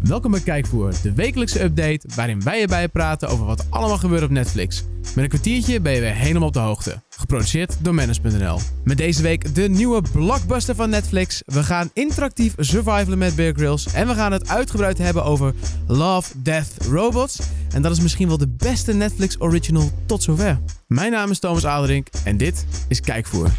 Welkom bij Kijkvoer, de wekelijkse update waarin wij erbij praten over wat allemaal gebeurt op Netflix. Met een kwartiertje ben je weer helemaal op de hoogte. Geproduceerd door Manage.nl. Met deze week de nieuwe blockbuster van Netflix. We gaan interactief survivalen met Bear Grylls. En we gaan het uitgebreid hebben over Love, Death, Robots. En dat is misschien wel de beste Netflix original tot zover. Mijn naam is Thomas Aderink en dit is Kijkvoer.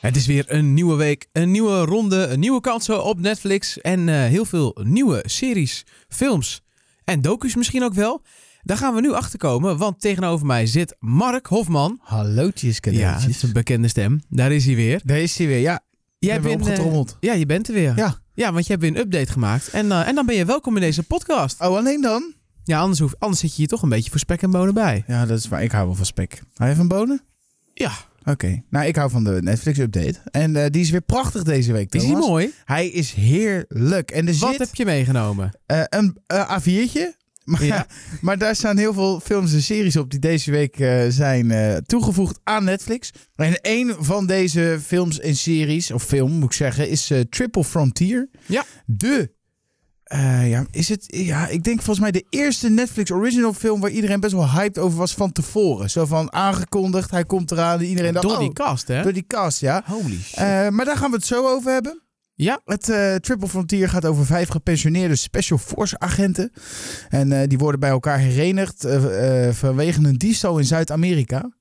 Het is weer een nieuwe week, een nieuwe ronde, een nieuwe kansen op Netflix en eh, heel veel nieuwe series, films en docu's misschien ook wel. Daar gaan we nu achter komen, want tegenover mij zit Mark Hofman. Hallootjes, Ja, het is cadeautjes. een bekende stem. Daar is hij weer. Daar is hij weer, ja. Jij ben weer bent eh, opgetrommeld. ja, je bent er weer. Ja. want je hebt weer een update gemaakt en, eh, en dan ben je welkom in deze podcast. Oh, alleen dan? Ja, anders, hoef, anders zit je hier toch een beetje voor spek en bonen bij. Ja, dat is waar. Ik hou wel van spek. Hou je van bonen? Ja, Oké. Nou, ik hou van de Netflix-update. En eh, die is weer prachtig deze week, is Thomas. die mooi? Hij is heerlijk. En er Wat zit heb je meegenomen? eh, een eh, A4'tje. Maar, Ja. maar daar staan heel veel films en series op die deze week eh, zijn eh, toegevoegd aan Netflix. En een van deze films en series, of film moet ik zeggen, is eh, Triple Frontier. Ja. De. eh, ja, is het, ja, ik denk volgens mij de eerste Netflix original film waar iedereen best wel hyped over was van tevoren. Zo van aangekondigd, hij komt eraan. Iedereen dacht, Door die oh, kast, hè? door die cast, ja. Holy shit. Eh, maar daar gaan we het zo over hebben. Ja. Het eh, Triple Frontier gaat over vijf gepensioneerde Special Force agenten. En eh, die worden bij elkaar herenigd eh, eh, vanwege een diefstal in Zuid-Amerika.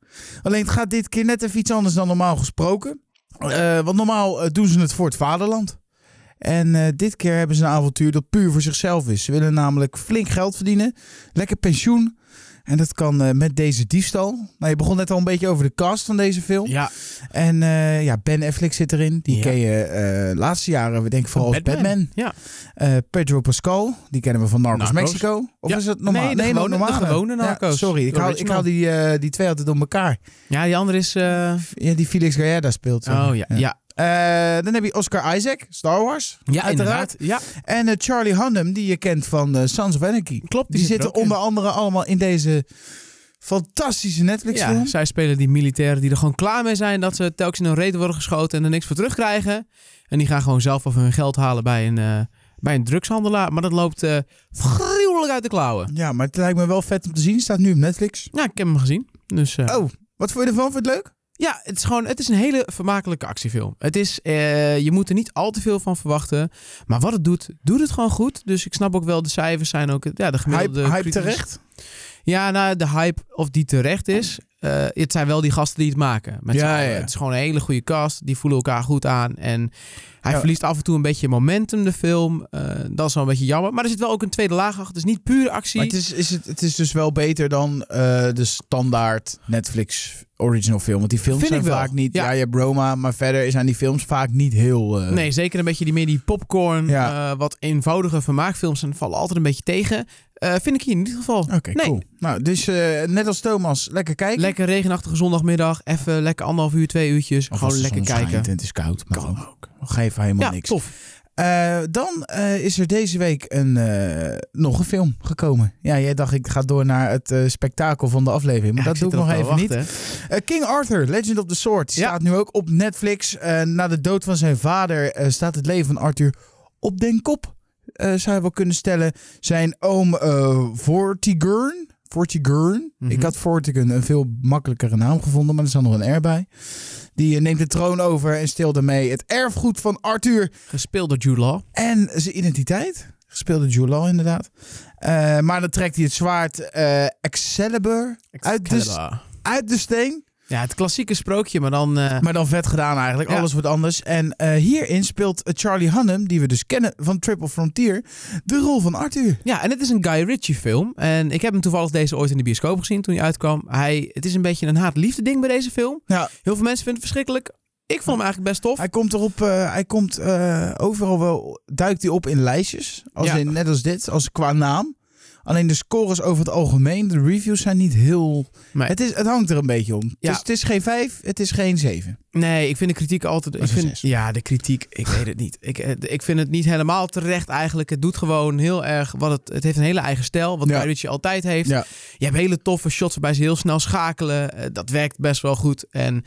Alleen het gaat dit keer net even iets anders dan normaal gesproken. Eh, want normaal eh, doen ze het voor het vaderland. En eh, dit keer hebben ze een avontuur dat puur voor zichzelf is. Ze willen namelijk flink geld verdienen, lekker pensioen. En dat kan eh, met deze diefstal. Nou, je begon net al een beetje over de cast van deze film. ja, En eh, ja, Ben Affleck zit erin. Die Ja. ken je eh, de laatste jaren, we denken vooral als Batman. Ja. Eh, Pedro Pascal, die kennen we van Narcos, Narcos. Mexico. Of Ja. is dat normaal? Nee, de gewone- normaal. de gewone Ja, Narcos. sorry, ik De haal, ik original. haal die, eh, die twee altijd door elkaar. ja, die andere is... eh, Ja, die Felix Gallardo speelt. zeg maar. Oh ja, ja. Eh, dan heb je Oscar Isaac, Star Wars. Ja, uiteraard. Ja, En eh, Charlie Hunnam, die je kent van eh, Sons of Anarchy. klopt. Die, zitten onder andere allemaal in deze fantastische Netflix Ja, film. zij spelen die militairen die er gewoon klaar mee zijn dat ze telkens in hun reden worden geschoten en er niks voor terugkrijgen. En die gaan gewoon zelf over hun geld halen bij een, eh, bij een drugshandelaar. Maar dat loopt eh gruwelijk uit de klauwen. Ja, maar het lijkt me wel vet om te zien. Staat nu op Netflix. Ja, ik heb hem gezien. Dus, eh, Oh, wat vond je ervan? Vond je het leuk? Ja, het is gewoon het is een hele vermakelijke actiefilm. Het is, eh, je moet er niet al te veel van verwachten. Maar wat het doet, doet het gewoon goed. Dus ik snap ook wel, de cijfers zijn ook ja, de gemiddelde... Hype, hype kritische- terecht. Ja, nou, de hype of die terecht is. eh, het zijn wel die gasten die het maken. Met Ja, z'n allen. ja. Het is gewoon een hele goede cast. Die voelen elkaar goed aan. En hij Ja. verliest af en toe een beetje momentum, de film. Eh, dat is wel een beetje jammer. Maar er zit wel ook een tweede laag achter. Het is niet pure actie. Maar het is, is het, het is dus wel beter dan eh, de standaard Netflix original film. Want die films Vind zijn ik wel. vaak niet... Ja. Ja. je hebt Roma, maar verder zijn die films vaak niet heel... eh, Nee, zeker een beetje die, meer die popcorn. Ja. eh, wat eenvoudige vermaakfilms en vallen altijd een beetje tegen. Eh, vind ik hier in ieder geval. Oké, Nee. cool. Nou, dus eh, net als Thomas, lekker kijken. Lekker regenachtige zondagmiddag. Even lekker anderhalf uur, twee uurtjes. Of als gewoon de lekker zon kijken. schijnt en het is koud, maar Kan ook. Geef helemaal Ja, niks. tof. Eh, dan eh, is er deze week een, eh, nog een film gekomen. Ja, jij dacht ik ga door naar het eh, spektakel van de aflevering. Maar Ja, dat doe zit ik erop nog te even niet. wachten, hè. Eh, King Arthur, Legend of the Sword, die Ja. staat nu ook op Netflix. Eh, na de dood van zijn vader eh, staat het leven van Arthur op den kop. Eh, zou je wel kunnen stellen. Zijn oom eh Vortigern. Vortigern. Mhm. Ik had Vortigern een veel makkelijkere naam gevonden, maar er staat nog een R bij. Die eh, neemt de troon over en steelt daarmee het erfgoed van Arthur Gespeeld door Jude Law. en zijn identiteit. Gespeeld door Jude Law, inderdaad. Eh, maar dan trekt hij het zwaard eh, Excalibur Uit de Excalibur. uit de steen. Ja, het klassieke sprookje, maar dan... eh, Maar dan vet gedaan eigenlijk. Ja. Alles wordt anders. En eh, hierin speelt eh, Charlie Hunnam, die we dus kennen van Triple Frontier, de rol van Arthur. Ja, en het is een Guy Ritchie film. En ik heb hem toevallig deze ooit in de bioscoop gezien toen hij uitkwam. Hij, het is een beetje een haat-liefde ding bij deze film. Ja. Heel veel mensen vinden het verschrikkelijk. Ik vond hem eigenlijk best tof. Hij komt erop, eh, hij komt eh, overal wel, duikt hij op in lijstjes. Als Ja. in, net als dit, als qua naam. Alleen de scores over het algemeen, de reviews zijn niet heel... Nee. Het, is, het hangt er een beetje om. Ja. Dus het is geen 5, het is geen 7. Nee, ik vind de kritiek altijd. Ik is een vind, zes. ja, de kritiek, ik weet het niet. Ik, eh, ik vind het niet helemaal terecht eigenlijk. Het doet gewoon heel erg wat het. Het heeft een hele eigen stijl, wat Ja. Guy Ritchie altijd heeft. Ja. Je hebt hele toffe shots waarbij ze heel snel schakelen. Eh, dat werkt best wel goed. En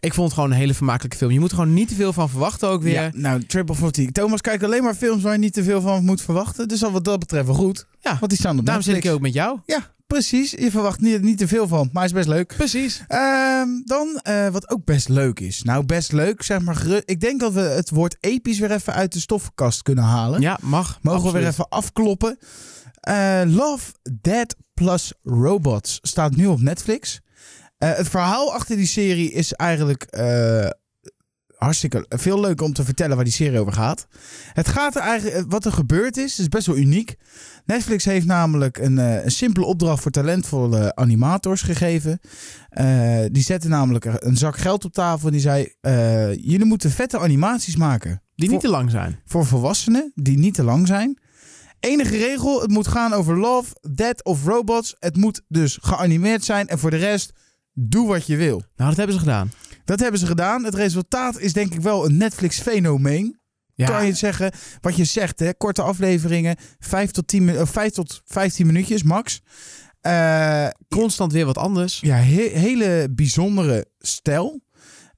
ik vond het gewoon een hele vermakelijke film. Je moet er gewoon niet te veel van verwachten ook weer. Ja, nou, Triple 14. Thomas kijkt alleen maar films waar je niet te veel van moet verwachten. Dus al wat dat betreft wel goed. Ja. Want die staan op Daarom zit ik Netflix. hier ook met jou. Ja, precies. Je verwacht niet, niet te veel van, maar hij is best leuk. Precies. Ehm, dan, eh, wat ook best leuk is. Nou, best leuk, zeg maar. geru- Ik denk dat we het woord episch weer even uit de stoffenkast kunnen halen. Ja, mag. Mogen we weer absoluut. even afkloppen. Eh, Love, Dead plus Robots staat nu op Netflix. Eh, het verhaal achter die serie is eigenlijk eh, hartstikke veel leuk om te vertellen waar die serie over gaat. Het gaat er eigenlijk, eh, wat er gebeurd is, is best wel uniek. Netflix heeft namelijk een, eh, een simpele opdracht voor talentvolle animators gegeven. Eh, die zetten namelijk een zak geld op tafel en die zei: eh, Jullie moeten vette animaties maken Die niet te lang zijn. voor volwassenen die niet te lang zijn. Enige regel, het moet gaan over love, dead of robots. Het moet dus geanimeerd zijn en voor de rest, doe wat je wil. Nou, dat hebben ze gedaan. Dat hebben ze gedaan. Het resultaat is denk ik wel een Netflix-fenomeen. Ja. Kan je het zeggen, wat je zegt, hè? korte afleveringen, 5 tot, 10, min- of 5 tot 15 minuutjes max. Eh, Constant weer wat anders. ja, he- hele bijzondere stijl,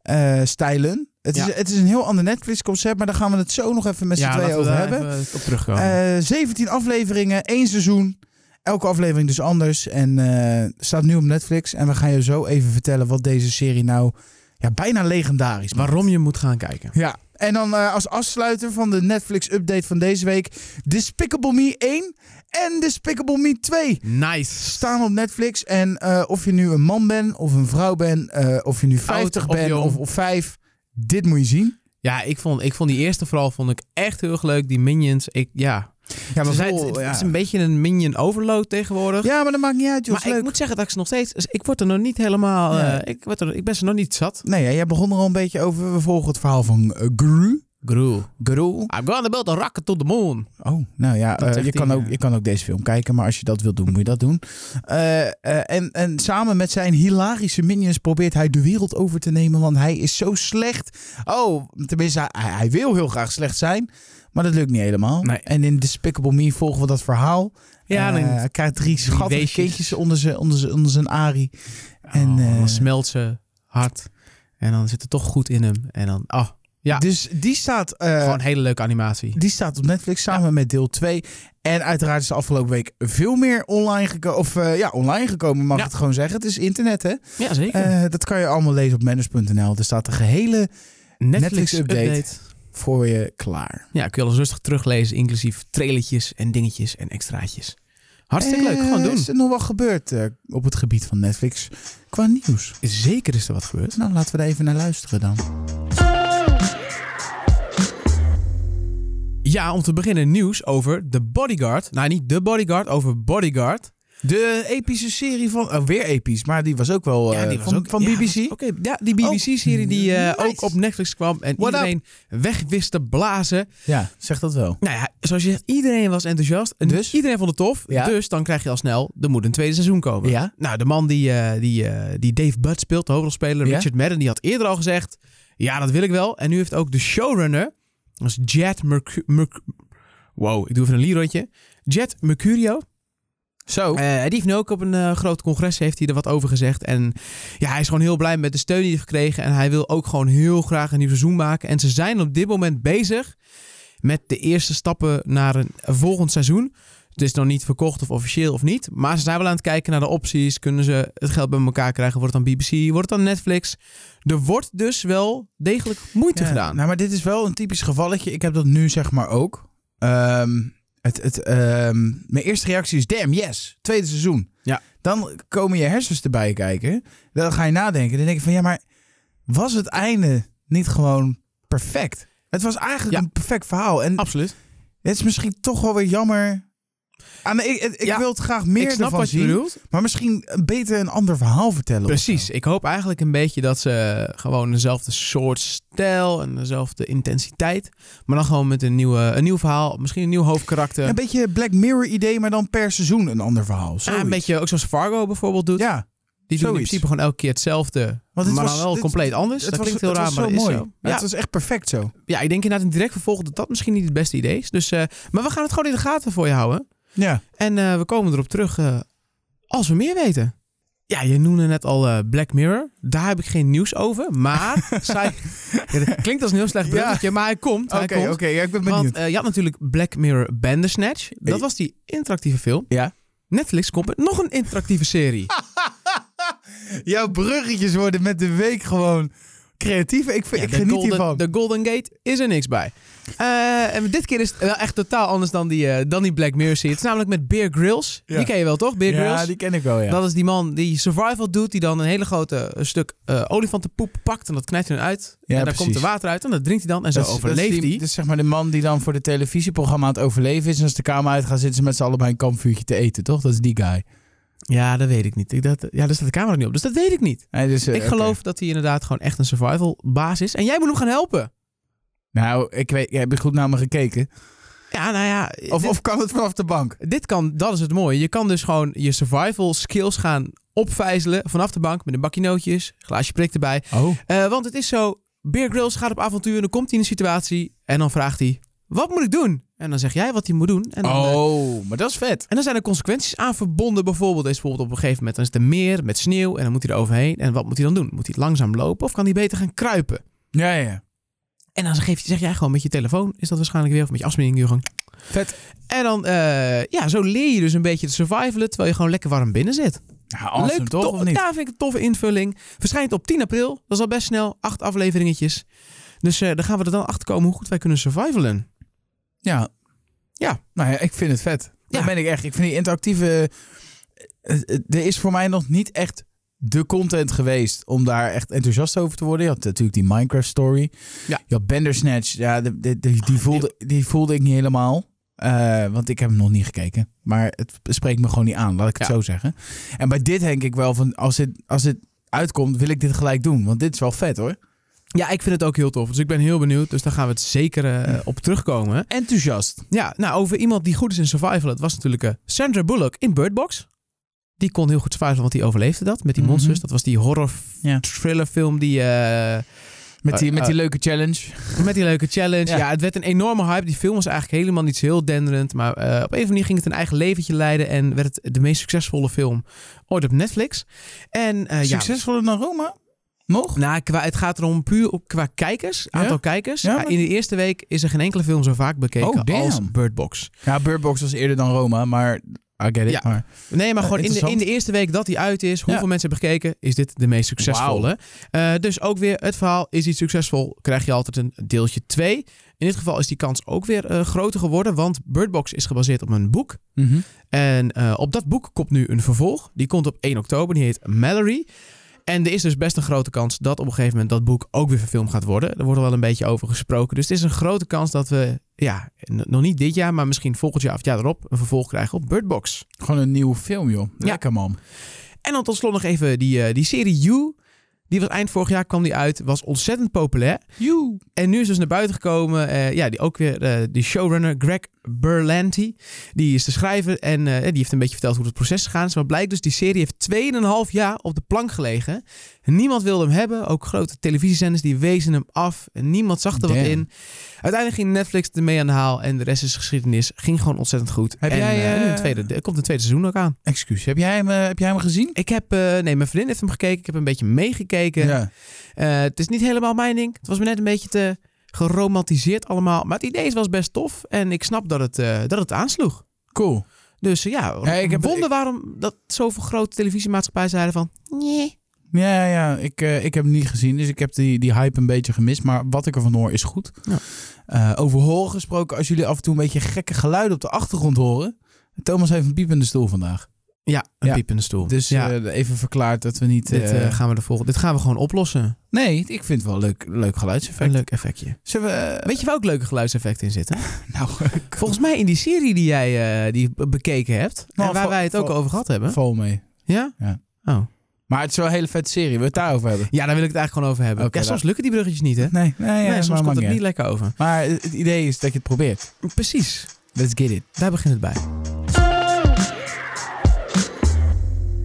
eh, stijlen. Het, Ja. is, het is een heel ander Netflix-concept, maar daar gaan we het zo nog even met z'n ja, tweeën laten we over daar hebben. even op terugkomen. Eh, 17 afleveringen, één seizoen. Elke aflevering dus anders. En eh, staat nu op Netflix. En we gaan je zo even vertellen wat deze serie nou ja, bijna legendarisch maakt. Waarom je moet gaan kijken. Ja. En dan eh, als afsluiter van de Netflix-update van deze week... Despicable Me 1 en Despicable Me 2 Nice. staan op Netflix. En eh, of je nu een man bent of een vrouw bent... eh, of je nu 50 of bent jong. of, of 5... Dit moet je zien. Ja, ik vond, ik vond die eerste vooral vond ik echt heel erg leuk. Die minions. Ik, ja. Ja, Ze zijn- vol- het, ja. het is een beetje een minion overload tegenwoordig. ja, maar dat maakt niet uit. Joh. maar is ik leuk. moet zeggen dat ik ze nog steeds... dus Ik word er nog niet helemaal... Ja. eh, ik, word er, ik ben ze nog niet zat. Nee, ja, jij begon er al een beetje over. We volgen het verhaal van eh, Gru. Groe. Gru. I'm gonna build a rocket to the moon. Oh, nou ja, Dat eh, zegt je, kan hij, ook, ja. je kan ook deze film kijken, maar als je dat wilt doen, moet je dat doen. Eh, eh, en, en samen met zijn hilarische minions probeert hij de wereld over te nemen, want hij is zo slecht. Oh, tenminste, hij, hij wil heel graag slecht zijn, maar dat lukt niet helemaal. Nee. En in Despicable Me volgen we dat verhaal. Ja, Eh, dan, hij krijgt drie schattige weesjes. kindjes onder zijn, onder zijn, onder zijn arie. en, oh, eh, dan smelt ze hard. En dan zit het toch goed in hem. En dan... Oh, Ja. Dus die staat... eh, gewoon een hele leuke animatie. Die staat op Netflix samen met deel 2. En uiteraard is de afgelopen week veel meer online gekomen. Of eh, ja, online gekomen mag Ja. ik het gewoon zeggen. Het is internet, hè? Ja, zeker. Eh, dat kan je allemaal lezen op manners.nl. Er staat de gehele Netflix update. voor je klaar. Ja, kun je alles rustig teruglezen. Inclusief trailertjes en dingetjes en extraatjes. Hartstikke leuk. Gewoon Eh, doen. Is er nog wat gebeurd eh, op het gebied van Netflix qua nieuws? Zeker is er wat gebeurd. Nou, laten we daar even naar luisteren dan. Ja, om te beginnen nieuws over The Bodyguard. Nou, niet The Bodyguard, over Bodyguard. De epische serie van... Oh, weer episch, maar die was ook wel eh, van, van ja, BBC. was- Oké, ja, die BBC-serie die eh, Oh, nice. ook op Netflix kwam en What up? iedereen weg wist te blazen. Ja, zeg dat wel. Nou ja, zoals je zegt, iedereen was enthousiast. En Dus? Iedereen vond het tof. Ja. Dus dan krijg je al snel, er moet een tweede seizoen komen. Ja. Nou, de man die, eh, die, eh, die Dave Budd speelt, de hoofdrolspeler, Ja. Richard Madden, die had eerder al gezegd, ja, dat wil ik wel. En nu heeft ook de showrunner, dat is Jet Mercu... Merc- wow, ik doe even een lierondje. Jet Mercurio. Zo. Eh, die heeft nu ook op een eh, groot congres heeft hij er wat over gezegd. En ja, hij is gewoon heel blij met de steun die hij heeft gekregen. En hij wil ook gewoon heel graag een nieuw seizoen maken. En ze zijn op dit moment bezig met de eerste stappen naar een een volgend seizoen. Het is nog niet verkocht of officieel of niet. Maar ze zijn wel aan het kijken naar de opties. Kunnen ze het geld bij elkaar krijgen? Wordt het dan BBC? Wordt het dan Netflix? Er wordt dus wel degelijk moeite Ja, gedaan. Nou, maar dit is wel een typisch gevalletje. Ik heb dat nu zeg maar ook. Ehm, het, het, ehm, mijn eerste reactie is damn, yes, tweede seizoen. Ja. Dan komen je hersens erbij kijken. Dan ga je nadenken. Dan denk je van ja, maar was het einde niet gewoon perfect? Het was Ja. eigenlijk een perfect verhaal. En Absoluut. het is misschien toch wel weer jammer Ah, nee, ik ik Ja, wil het graag meer ik snap ervan wat je zien. bedoelt. Maar misschien beter een ander verhaal vertellen. of Precies. zo. Ik hoop eigenlijk een beetje dat ze gewoon dezelfde soort stijl en dezelfde intensiteit. Maar dan gewoon met een, nieuwe, een nieuw verhaal. Misschien een nieuw hoofdkarakter. Een beetje Black Mirror idee, maar dan per seizoen een ander verhaal. Ah, een zoiets. beetje ook zoals Fargo bijvoorbeeld doet. Ja, die doen in zoiets. principe gewoon elke keer hetzelfde. want het maar was dan wel dit- compleet anders. Het Dus dat was, klinkt heel het raar, was maar dat zo is mooi. zo. Ja, Ja, Het was echt perfect zo. ja, ik denk inderdaad een direct vervolg dat dat misschien niet het beste idee is. Dus, eh, maar we gaan het gewoon in de gaten voor je houden. Ja. En eh, we komen erop terug eh, als we meer weten. Ja, je noemde net al eh, Black Mirror. Daar heb ik geen nieuws over. Maar zij... Ja, dat klinkt als een heel slecht Ja. bruggetje, maar hij komt. Oké, hij komt. oké. ja, ik ben benieuwd. Want eh, je had natuurlijk Black Mirror Bandersnatch. Dat Eh. was die interactieve film. Ja. Netflix komt met nog een interactieve serie. Jouw bruggetjes worden met de week gewoon creatief. Ik, vind- Ja, ik de geniet Golden, hiervan. De Golden Gate is er niks bij. Eh, en dit keer is het wel echt totaal anders dan die, eh, dan die Black Mirror serie. Het is namelijk met Bear Grylls. Ja. Die ken je wel, toch? Bear Grylls. ja, die ken ik wel, ja. Dat is die man die survival doet, die dan een hele grote eh, stuk eh, olifantenpoep pakt en dat knijpt hij dan uit. Ja, en daar precies. komt er water uit en dat drinkt hij dan en zo Dat is- dat is overleeft die- hij. Dat is zeg maar de man die dan voor de televisieprogramma aan het overleven is. En als de kamer uitgaat, zitten ze met z'n allen bij een kampvuurtje te eten, toch? Dat is die guy. Ja, dat weet ik niet. Ik, dat, ja, daar staat de camera niet op, dus dat weet ik niet. Hij dus, eh, Ik oké. geloof dat hij inderdaad gewoon echt een survival baas is. En jij moet hem gaan helpen. Nou, ik weet, heb je goed naar me gekeken? Ja, nou ja. Of, dit, of kan het vanaf de bank? dit kan, dat is het mooie. Je kan dus gewoon je survival skills gaan opvijzelen vanaf de bank met een bakje nootjes, een glaasje prik erbij. Oh. Eh, want het is zo, Bear Grylls gaat op avontuur en dan komt hij in een situatie en dan vraagt hij, wat moet ik doen? En dan zeg jij wat hij moet doen. En dan, eh, Oh, maar dat is vet. En dan zijn er consequenties aan verbonden. Bijvoorbeeld, er is bijvoorbeeld op een gegeven moment dan is het een meer met sneeuw en dan moet hij er overheen. En wat moet hij dan doen? Moet hij langzaam lopen of kan hij beter gaan kruipen? Ja, ja, ja. En dan geef je, zeg jij gewoon met je telefoon, is dat waarschijnlijk weer, of met je afsmering in je gang. Vet. En dan, eh, ja, zo leer je dus een beetje te survivalen, terwijl je gewoon lekker warm binnen zit. Nou, awesome, Leuk, toch? tof- Of niet? Ja, vind ik een toffe invulling. Verschijnt op 10 april, dat is al best snel, acht afleveringetjes. Dus eh dan gaan we er dan achter komen hoe goed wij kunnen survivalen. Ja. Ja. Nou ja, ik vind het vet. Ja. Dat ben ik echt. Ik vind die interactieve... eh, eh, Er is voor mij nog niet echt de content geweest om daar echt enthousiast over te worden. Je had natuurlijk die Minecraft story. Ja. Ah, Je had Bandersnatch. Ja, de- de- de- die, voelde, die voelde ik niet helemaal. Eh, want ik heb hem nog niet gekeken. Maar het spreekt me gewoon niet aan, laat ik het Ja. zo zeggen. En bij dit denk ik wel van, als dit, als dit uitkomt, wil ik dit gelijk doen. Want dit is wel vet hoor. Ja, ik vind het ook heel tof. Dus ik ben heel benieuwd. Dus daar gaan we het zeker eh, op terugkomen. Enthousiast. Ja, nou, over iemand die goed is in survival. Het was natuurlijk eh, Sandra Bullock in Bird Box. Die kon heel goed survivalen, want die overleefde dat. Met die Mhm. monsters. Dat was die horror Ja. thrillerfilm die, eh, Met die, Eh, met die eh. leuke challenge. met die leuke challenge. Ja. Ja. het werd een enorme hype. Die film was eigenlijk helemaal niet zo heel denderend. Maar eh, op een of andere manier ging het een eigen leventje leiden. En werd het de meest succesvolle film ooit op Netflix. En eh ja, Succesvoller dan Roma? Nog? Nou, qua, het gaat erom puur op- qua kijkers, Ja? aantal kijkers. Ja, maar- In de eerste week is er geen enkele film zo vaak Oh, bekeken damn. als Bird Box. Ja, Bird Box was eerder dan Roma, maar I get it. Ja. Maar, Nee, maar Eh, gewoon in de, in interessant. de eerste week dat hij uit is, hoeveel Ja. mensen hebben gekeken, is dit de meest succesvolle. Eh, dus ook weer het verhaal, is iets succesvol, krijg je altijd een deeltje 2. In dit geval is die kans ook weer eh, groter geworden, want Bird Box is gebaseerd op een boek. Mhm. En eh, op dat boek komt nu een vervolg. Die komt op 1 oktober, die heet Mallory. En er is dus best een grote kans dat op een gegeven moment dat boek ook weer verfilmd gaat worden. Er wordt al wel een beetje over gesproken. Dus het is een grote kans dat we, ja, n- nog niet dit jaar, maar misschien volgend jaar of het jaar erop, een vervolg krijgen op Bird Box. Gewoon een nieuwe film, joh. Ja. Lekker, man. En dan tot slot nog even die, eh, die serie You. Die was eind vorig jaar kwam die uit, was ontzettend populair. You. En nu is dus naar buiten gekomen, eh, ja, die ook weer eh die showrunner Greg Berlanti. Die is de schrijver en eh, die heeft een beetje verteld hoe het proces is gegaan. is. Maar blijkt dus, die serie heeft 2,5 jaar op de plank gelegen. Niemand wilde hem hebben. Ook grote televisiezenders die wezen hem af. En niemand zag er wat Damn. in. Uiteindelijk ging Netflix ermee aan de haal. En de rest is geschiedenis. Ging gewoon ontzettend goed. Heb en jij, eh, nu een eh, tweede, er komt een tweede seizoen ook aan. Excuus, heb jij hem, eh, heb jij hem gezien? Ik heb, eh, nee, mijn vriendin heeft hem gekeken. Ik heb een beetje meegekeken. Eh, het is niet helemaal mijn ding. Het was me net een beetje te geromantiseerd allemaal. Maar het idee is wel best tof. En ik snap dat het, eh, dat het aansloeg. Cool. Dus eh, ja, Ja, ik heb- wonder ik- waarom dat zoveel grote televisiemaatschappijen zeiden van... Nee. Ja, ja, ja. Ik, eh, ik heb hem niet gezien, dus ik heb die, die hype een beetje gemist. Maar wat ik ervan hoor is goed. Ja. Eh, over horen gesproken, als jullie af en toe een beetje gekke geluiden op de achtergrond horen. Thomas heeft een piepende stoel vandaag. Ja, een Ja. piep in de stoel. Dus ja, eh, even verklaard dat we niet... dit, eh, eh, gaan we de volgende. dit gaan we gewoon oplossen. nee, ik vind het wel een leuk, leuk geluidseffect. Een leuk effectje. Zullen we... eh, Weet je waar ook leuke geluidseffecten in zitten? nou, Volgens mij in die serie die jij eh, die be- bekeken hebt. Nou, en waar vo- wij het ook vo- over gehad hebben. vol mee. Ja? Ja. Oh. Maar het is wel een hele vette serie. We het daarover hebben. Ja, daar wil ik het eigenlijk gewoon over hebben. Oké, ja, soms lukken die bruggetjes niet, hè? Nee, nee, nee, ja, soms maar komt maakt het uit. niet lekker over. Maar het idee is dat je het probeert. Precies. Let's get it. Daar begint het bij.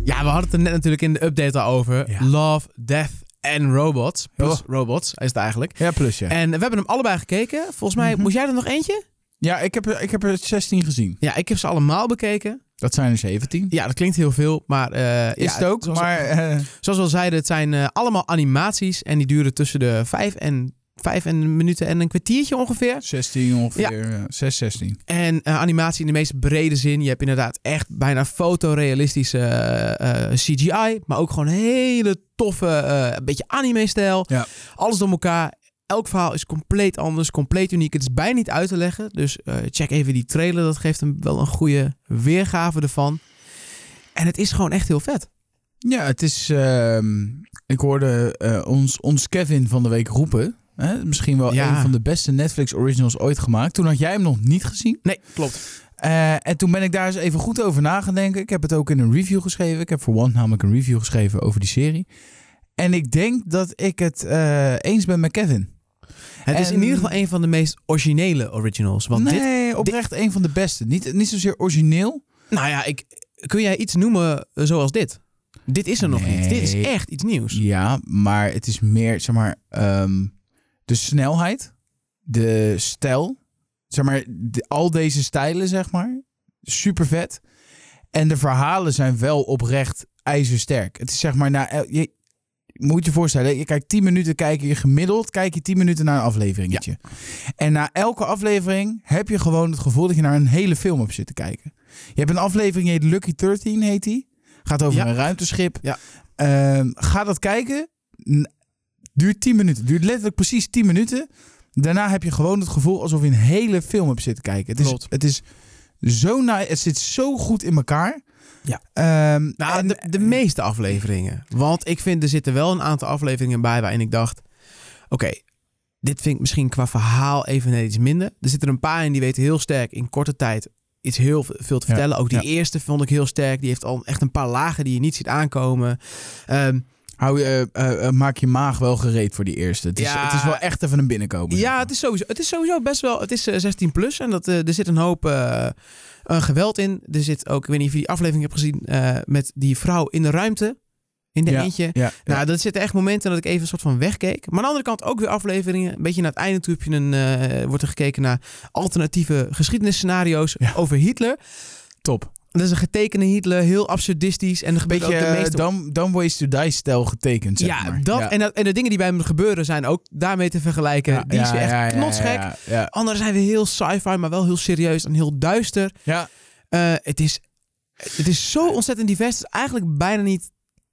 Ja, we hadden het er net natuurlijk in de update al over. Ja. Love, Death en Robots. Plus Oh. Robots is het eigenlijk. Ja, plus ja. En we hebben hem allebei gekeken. Volgens mij, Mhm. moest jij er nog eentje? Ja, ik heb, er- ik heb er 16 gezien. Ja, ik heb ze allemaal bekeken. Dat zijn er 17. Ja, dat klinkt heel veel, maar... eh, Is ja, het ook, zoals- maar... eh, Zoals we al zeiden, het zijn eh, allemaal animaties. En die duren tussen de vijf en, vijf en minuten en een kwartiertje ongeveer. 16 ongeveer. eh, 6, 16. En eh, animatie in de meest brede zin. Je hebt inderdaad echt bijna fotorealistische eh, eh, CGI. Maar ook gewoon hele toffe, eh, een beetje anime-stijl. Ja. Alles door elkaar. Elk verhaal is compleet anders, compleet uniek. Het is bijna niet uit te leggen. Dus eh, check even die trailer. Dat geeft hem wel een goede weergave ervan. En het is gewoon echt heel vet. Ja, het is... ehm, ik hoorde eh, ons, ons Kevin van de week roepen. Hè? Misschien wel Ja. een van de beste Netflix originals ooit gemaakt. Toen had jij hem nog niet gezien. Nee, klopt. Eh, en toen ben ik daar eens even goed over na gaan denken. Ik heb het ook in een review geschreven. Ik heb voor One namelijk een review geschreven over die serie. En ik denk dat ik het eh, eens ben met Kevin. Het is En- in ieder geval een van de meest originele originals. Want dit nee, oprecht een van de beste. Niet, niet zozeer origineel. Nou ja, ik, kun jij iets noemen eh, zoals dit? Dit is er nog Nee. niet. Dit is echt iets nieuws. Ja, maar het is meer, zeg maar, ehm, de snelheid, de stijl, zeg maar, de- al deze stijlen, zeg maar, super vet. En de verhalen zijn wel oprecht ijzersterk. Het is zeg maar, na, el- je moet je voorstellen, je kijkt 10 minuten, kijk je gemiddeld, kijk je 10 minuten naar een afleveringetje. En na elke aflevering heb je gewoon het gevoel dat je naar een hele film hebt zitten kijken. Je hebt een aflevering, die heet Lucky 13, heet die. Gaat over Ja. een ruimteschip. Ja. Ehm, ga dat kijken. N- Duurt 10 minuten. Duurt letterlijk precies 10 minuten. Daarna heb je gewoon het gevoel alsof je een hele film hebt zitten kijken. Het is, Klopt. het is zo nice. Het zit zo goed in elkaar. Ja. Ehm, Nou, en- de, de meeste afleveringen. Want ik vind, er zitten wel een aantal afleveringen bij waarin ik dacht... Oké, dit vind ik misschien qua verhaal even net iets minder. Er zitten er een paar in die weten heel sterk in korte tijd iets heel veel te Ja, vertellen. Ook die ja. eerste vond ik heel sterk. Die heeft al echt een paar lagen die je niet ziet aankomen. Ehm, Hou je, eh, eh, eh, maak je maag wel gereed voor die eerste. Het is, Ja. het is wel echt even een binnenkomen. Ja, het is sowieso, het is sowieso best wel. Het is eh, 16 plus en dat, eh, er zit een hoop eh, eh, geweld in. Er zit ook, ik weet niet of je die aflevering hebt gezien eh, met die vrouw in de ruimte. In de Ja, eentje. Ja, ja. Nou, dat zitten echt momenten dat ik even een soort van wegkeek. Maar aan de andere kant ook weer afleveringen. Een beetje naar het einde toe heb je een, eh, wordt er gekeken naar alternatieve geschiedenisscenario's Ja. over Hitler. top. Dat is een getekende Hitler, heel absurdistisch. En een Beetje beetje de eh, meeste Dumb, Dumb Ways to Die stijl getekend, zeg ja, maar. dat, Ja. En dat en de dingen die bij hem gebeuren zijn ook daarmee te vergelijken. Ja, die is ja, weer echt ja, ja, knotsgek. Ja, ja. Anderen zijn weer heel sci-fi, maar wel heel serieus en heel duister. Ja. Eh, het, is, het is zo ontzettend divers. Het is eigenlijk bijna niet te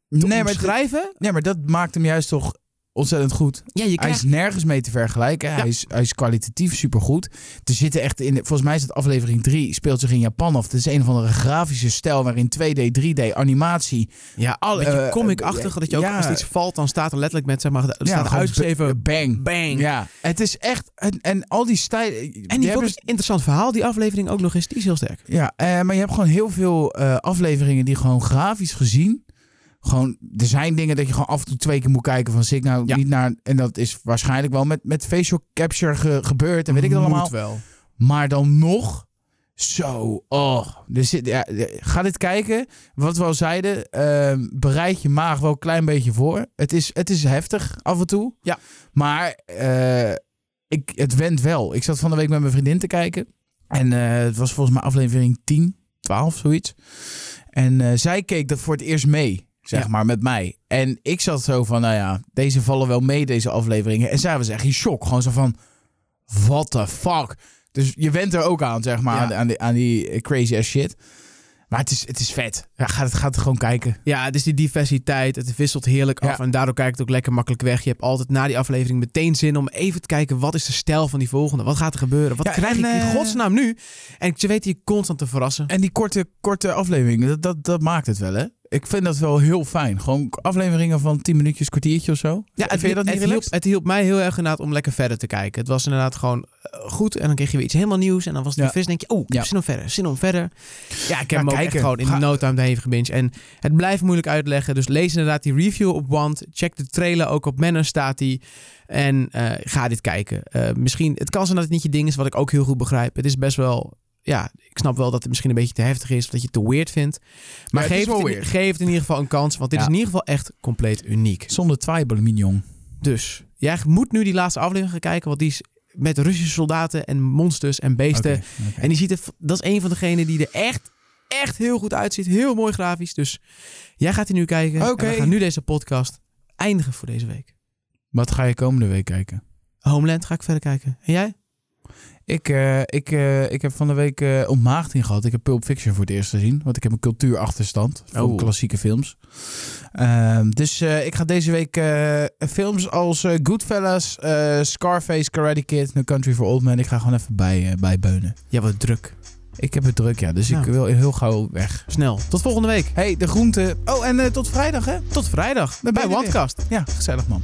Nee, maar het- omschrijven. nee, maar dat maakt hem juist toch ontzettend goed. ja, je Hij krijgt... is nergens mee te vergelijken. Hij, is, hij is kwalitatief supergoed. Er zitten echt in, volgens mij is het aflevering 3, speelt zich in Japan af. Het is een of andere grafische stijl waarin 2D, 3D, animatie. Ja, al, alle- beetje eh, comic-achtig. dat Oh, je ook ja. als er iets valt, dan staat er letterlijk met, zeg maar, er staat er gewoon uitgeschreven... b- Bang. Bang. Ja, het is echt. En, en al die stijlen. die En die hebben heeft een interessant verhaal, die aflevering ook nog eens. Die is heel sterk. Ja, eh, maar je hebt gewoon heel veel eh, afleveringen die gewoon grafisch gezien. Gewoon, er zijn dingen dat je gewoon af en toe twee keer moet kijken van zit ik nou Ja. niet naar. En dat is waarschijnlijk wel met, met facial capture ge- gebeurd en weet ik het Moet allemaal. wel. Maar dan nog. Zo, oh. Er zit, ja, eh, ga dit kijken. Wat we al zeiden, eh, bereid je maag wel een klein beetje voor. Het is, het is heftig af en toe. Ja. Maar eh, ik, het went wel. Ik zat van de week met mijn vriendin te kijken. En eh, het was volgens mij aflevering 10, 12, zoiets. En eh, zij keek dat voor het eerst mee, zeg Ja. maar, met mij. En ik zat zo van, nou ja, deze vallen wel mee, deze afleveringen. En zij was echt in shock. Gewoon zo van, what the fuck? Dus je went er ook aan, zeg maar, Ja. aan, aan die, aan die crazy ass shit. Maar het is, het is vet. Ja, ga het, ga het gewoon kijken. Ja, het is die diversiteit. Het wisselt heerlijk af. Ja. En daardoor kijkt het ook lekker makkelijk weg. Je hebt altijd na die aflevering meteen zin om even te kijken... wat is de stijl van die volgende? Wat gaat er gebeuren? Wat Ja, krijg en, ik in eh, godsnaam nu? En je weet je constant te verrassen. En die korte, korte afleveringen, dat, dat, dat maakt het wel, hè? Ik vind dat wel heel fijn. Gewoon afleveringen van 10 minuutjes, kwartiertje of zo. Ja, het, Vind je dat niet het, hielp, relaxed? het hielp mij heel erg inderdaad om lekker verder te kijken. Het was inderdaad gewoon eh, goed. En dan kreeg je weer iets helemaal nieuws. En dan was het Ja. weer fris. En denk je, oh, ik heb Ja. zin om verder, zin om verder. Ja, ik heb Ja, hem ook kijken. echt gewoon in Ga- no time heen gebinged. En het blijft moeilijk uitleggen. Dus lees inderdaad die review op Want. Check de trailer, ook op Manner staat die. En eh, ga dit kijken. Eh, misschien, het kan zijn dat het niet je ding is, wat ik ook heel goed begrijp. Het is best wel... Ja, ik snap wel dat het misschien een beetje te heftig is, of dat je het te weird vindt. Maar het is geef, het wel in, weird. geef het in ieder geval een kans, want dit Ja. is in ieder geval echt compleet uniek. Zonder twijfel, mignon. Dus jij moet nu die laatste aflevering gaan kijken, want die is met Russische soldaten en monsters en beesten. Oké, oké. En die ziet er, v- dat is een van degenen die er echt, echt heel goed uitziet. Heel mooi grafisch. Dus jij gaat die nu kijken. Oké. En we gaan nu deze podcast eindigen voor deze week. Wat ga je komende week kijken? Homeland ga ik verder kijken. En jij? Ik, eh, ik, eh, ik heb van de week eh ontmaagding gehad. Ik heb Pulp Fiction voor het eerst gezien. Want ik heb een cultuurachterstand van Oh. klassieke films. Ehm, dus eh, ik ga deze week eh, films als eh, Goodfellas, eh, Scarface, Karate Kid, No Country for Old Men. Ik ga gewoon even bij, eh, bij beunen. Ja, wat druk. Ik heb het druk, ja. Dus Nou. ik wil heel gauw weg. Snel. Tot volgende week. hey, de groente. Oh, en eh, tot vrijdag, hè? Tot vrijdag Dan ben bij je er weer. Wandcast. Ja, gezellig, man.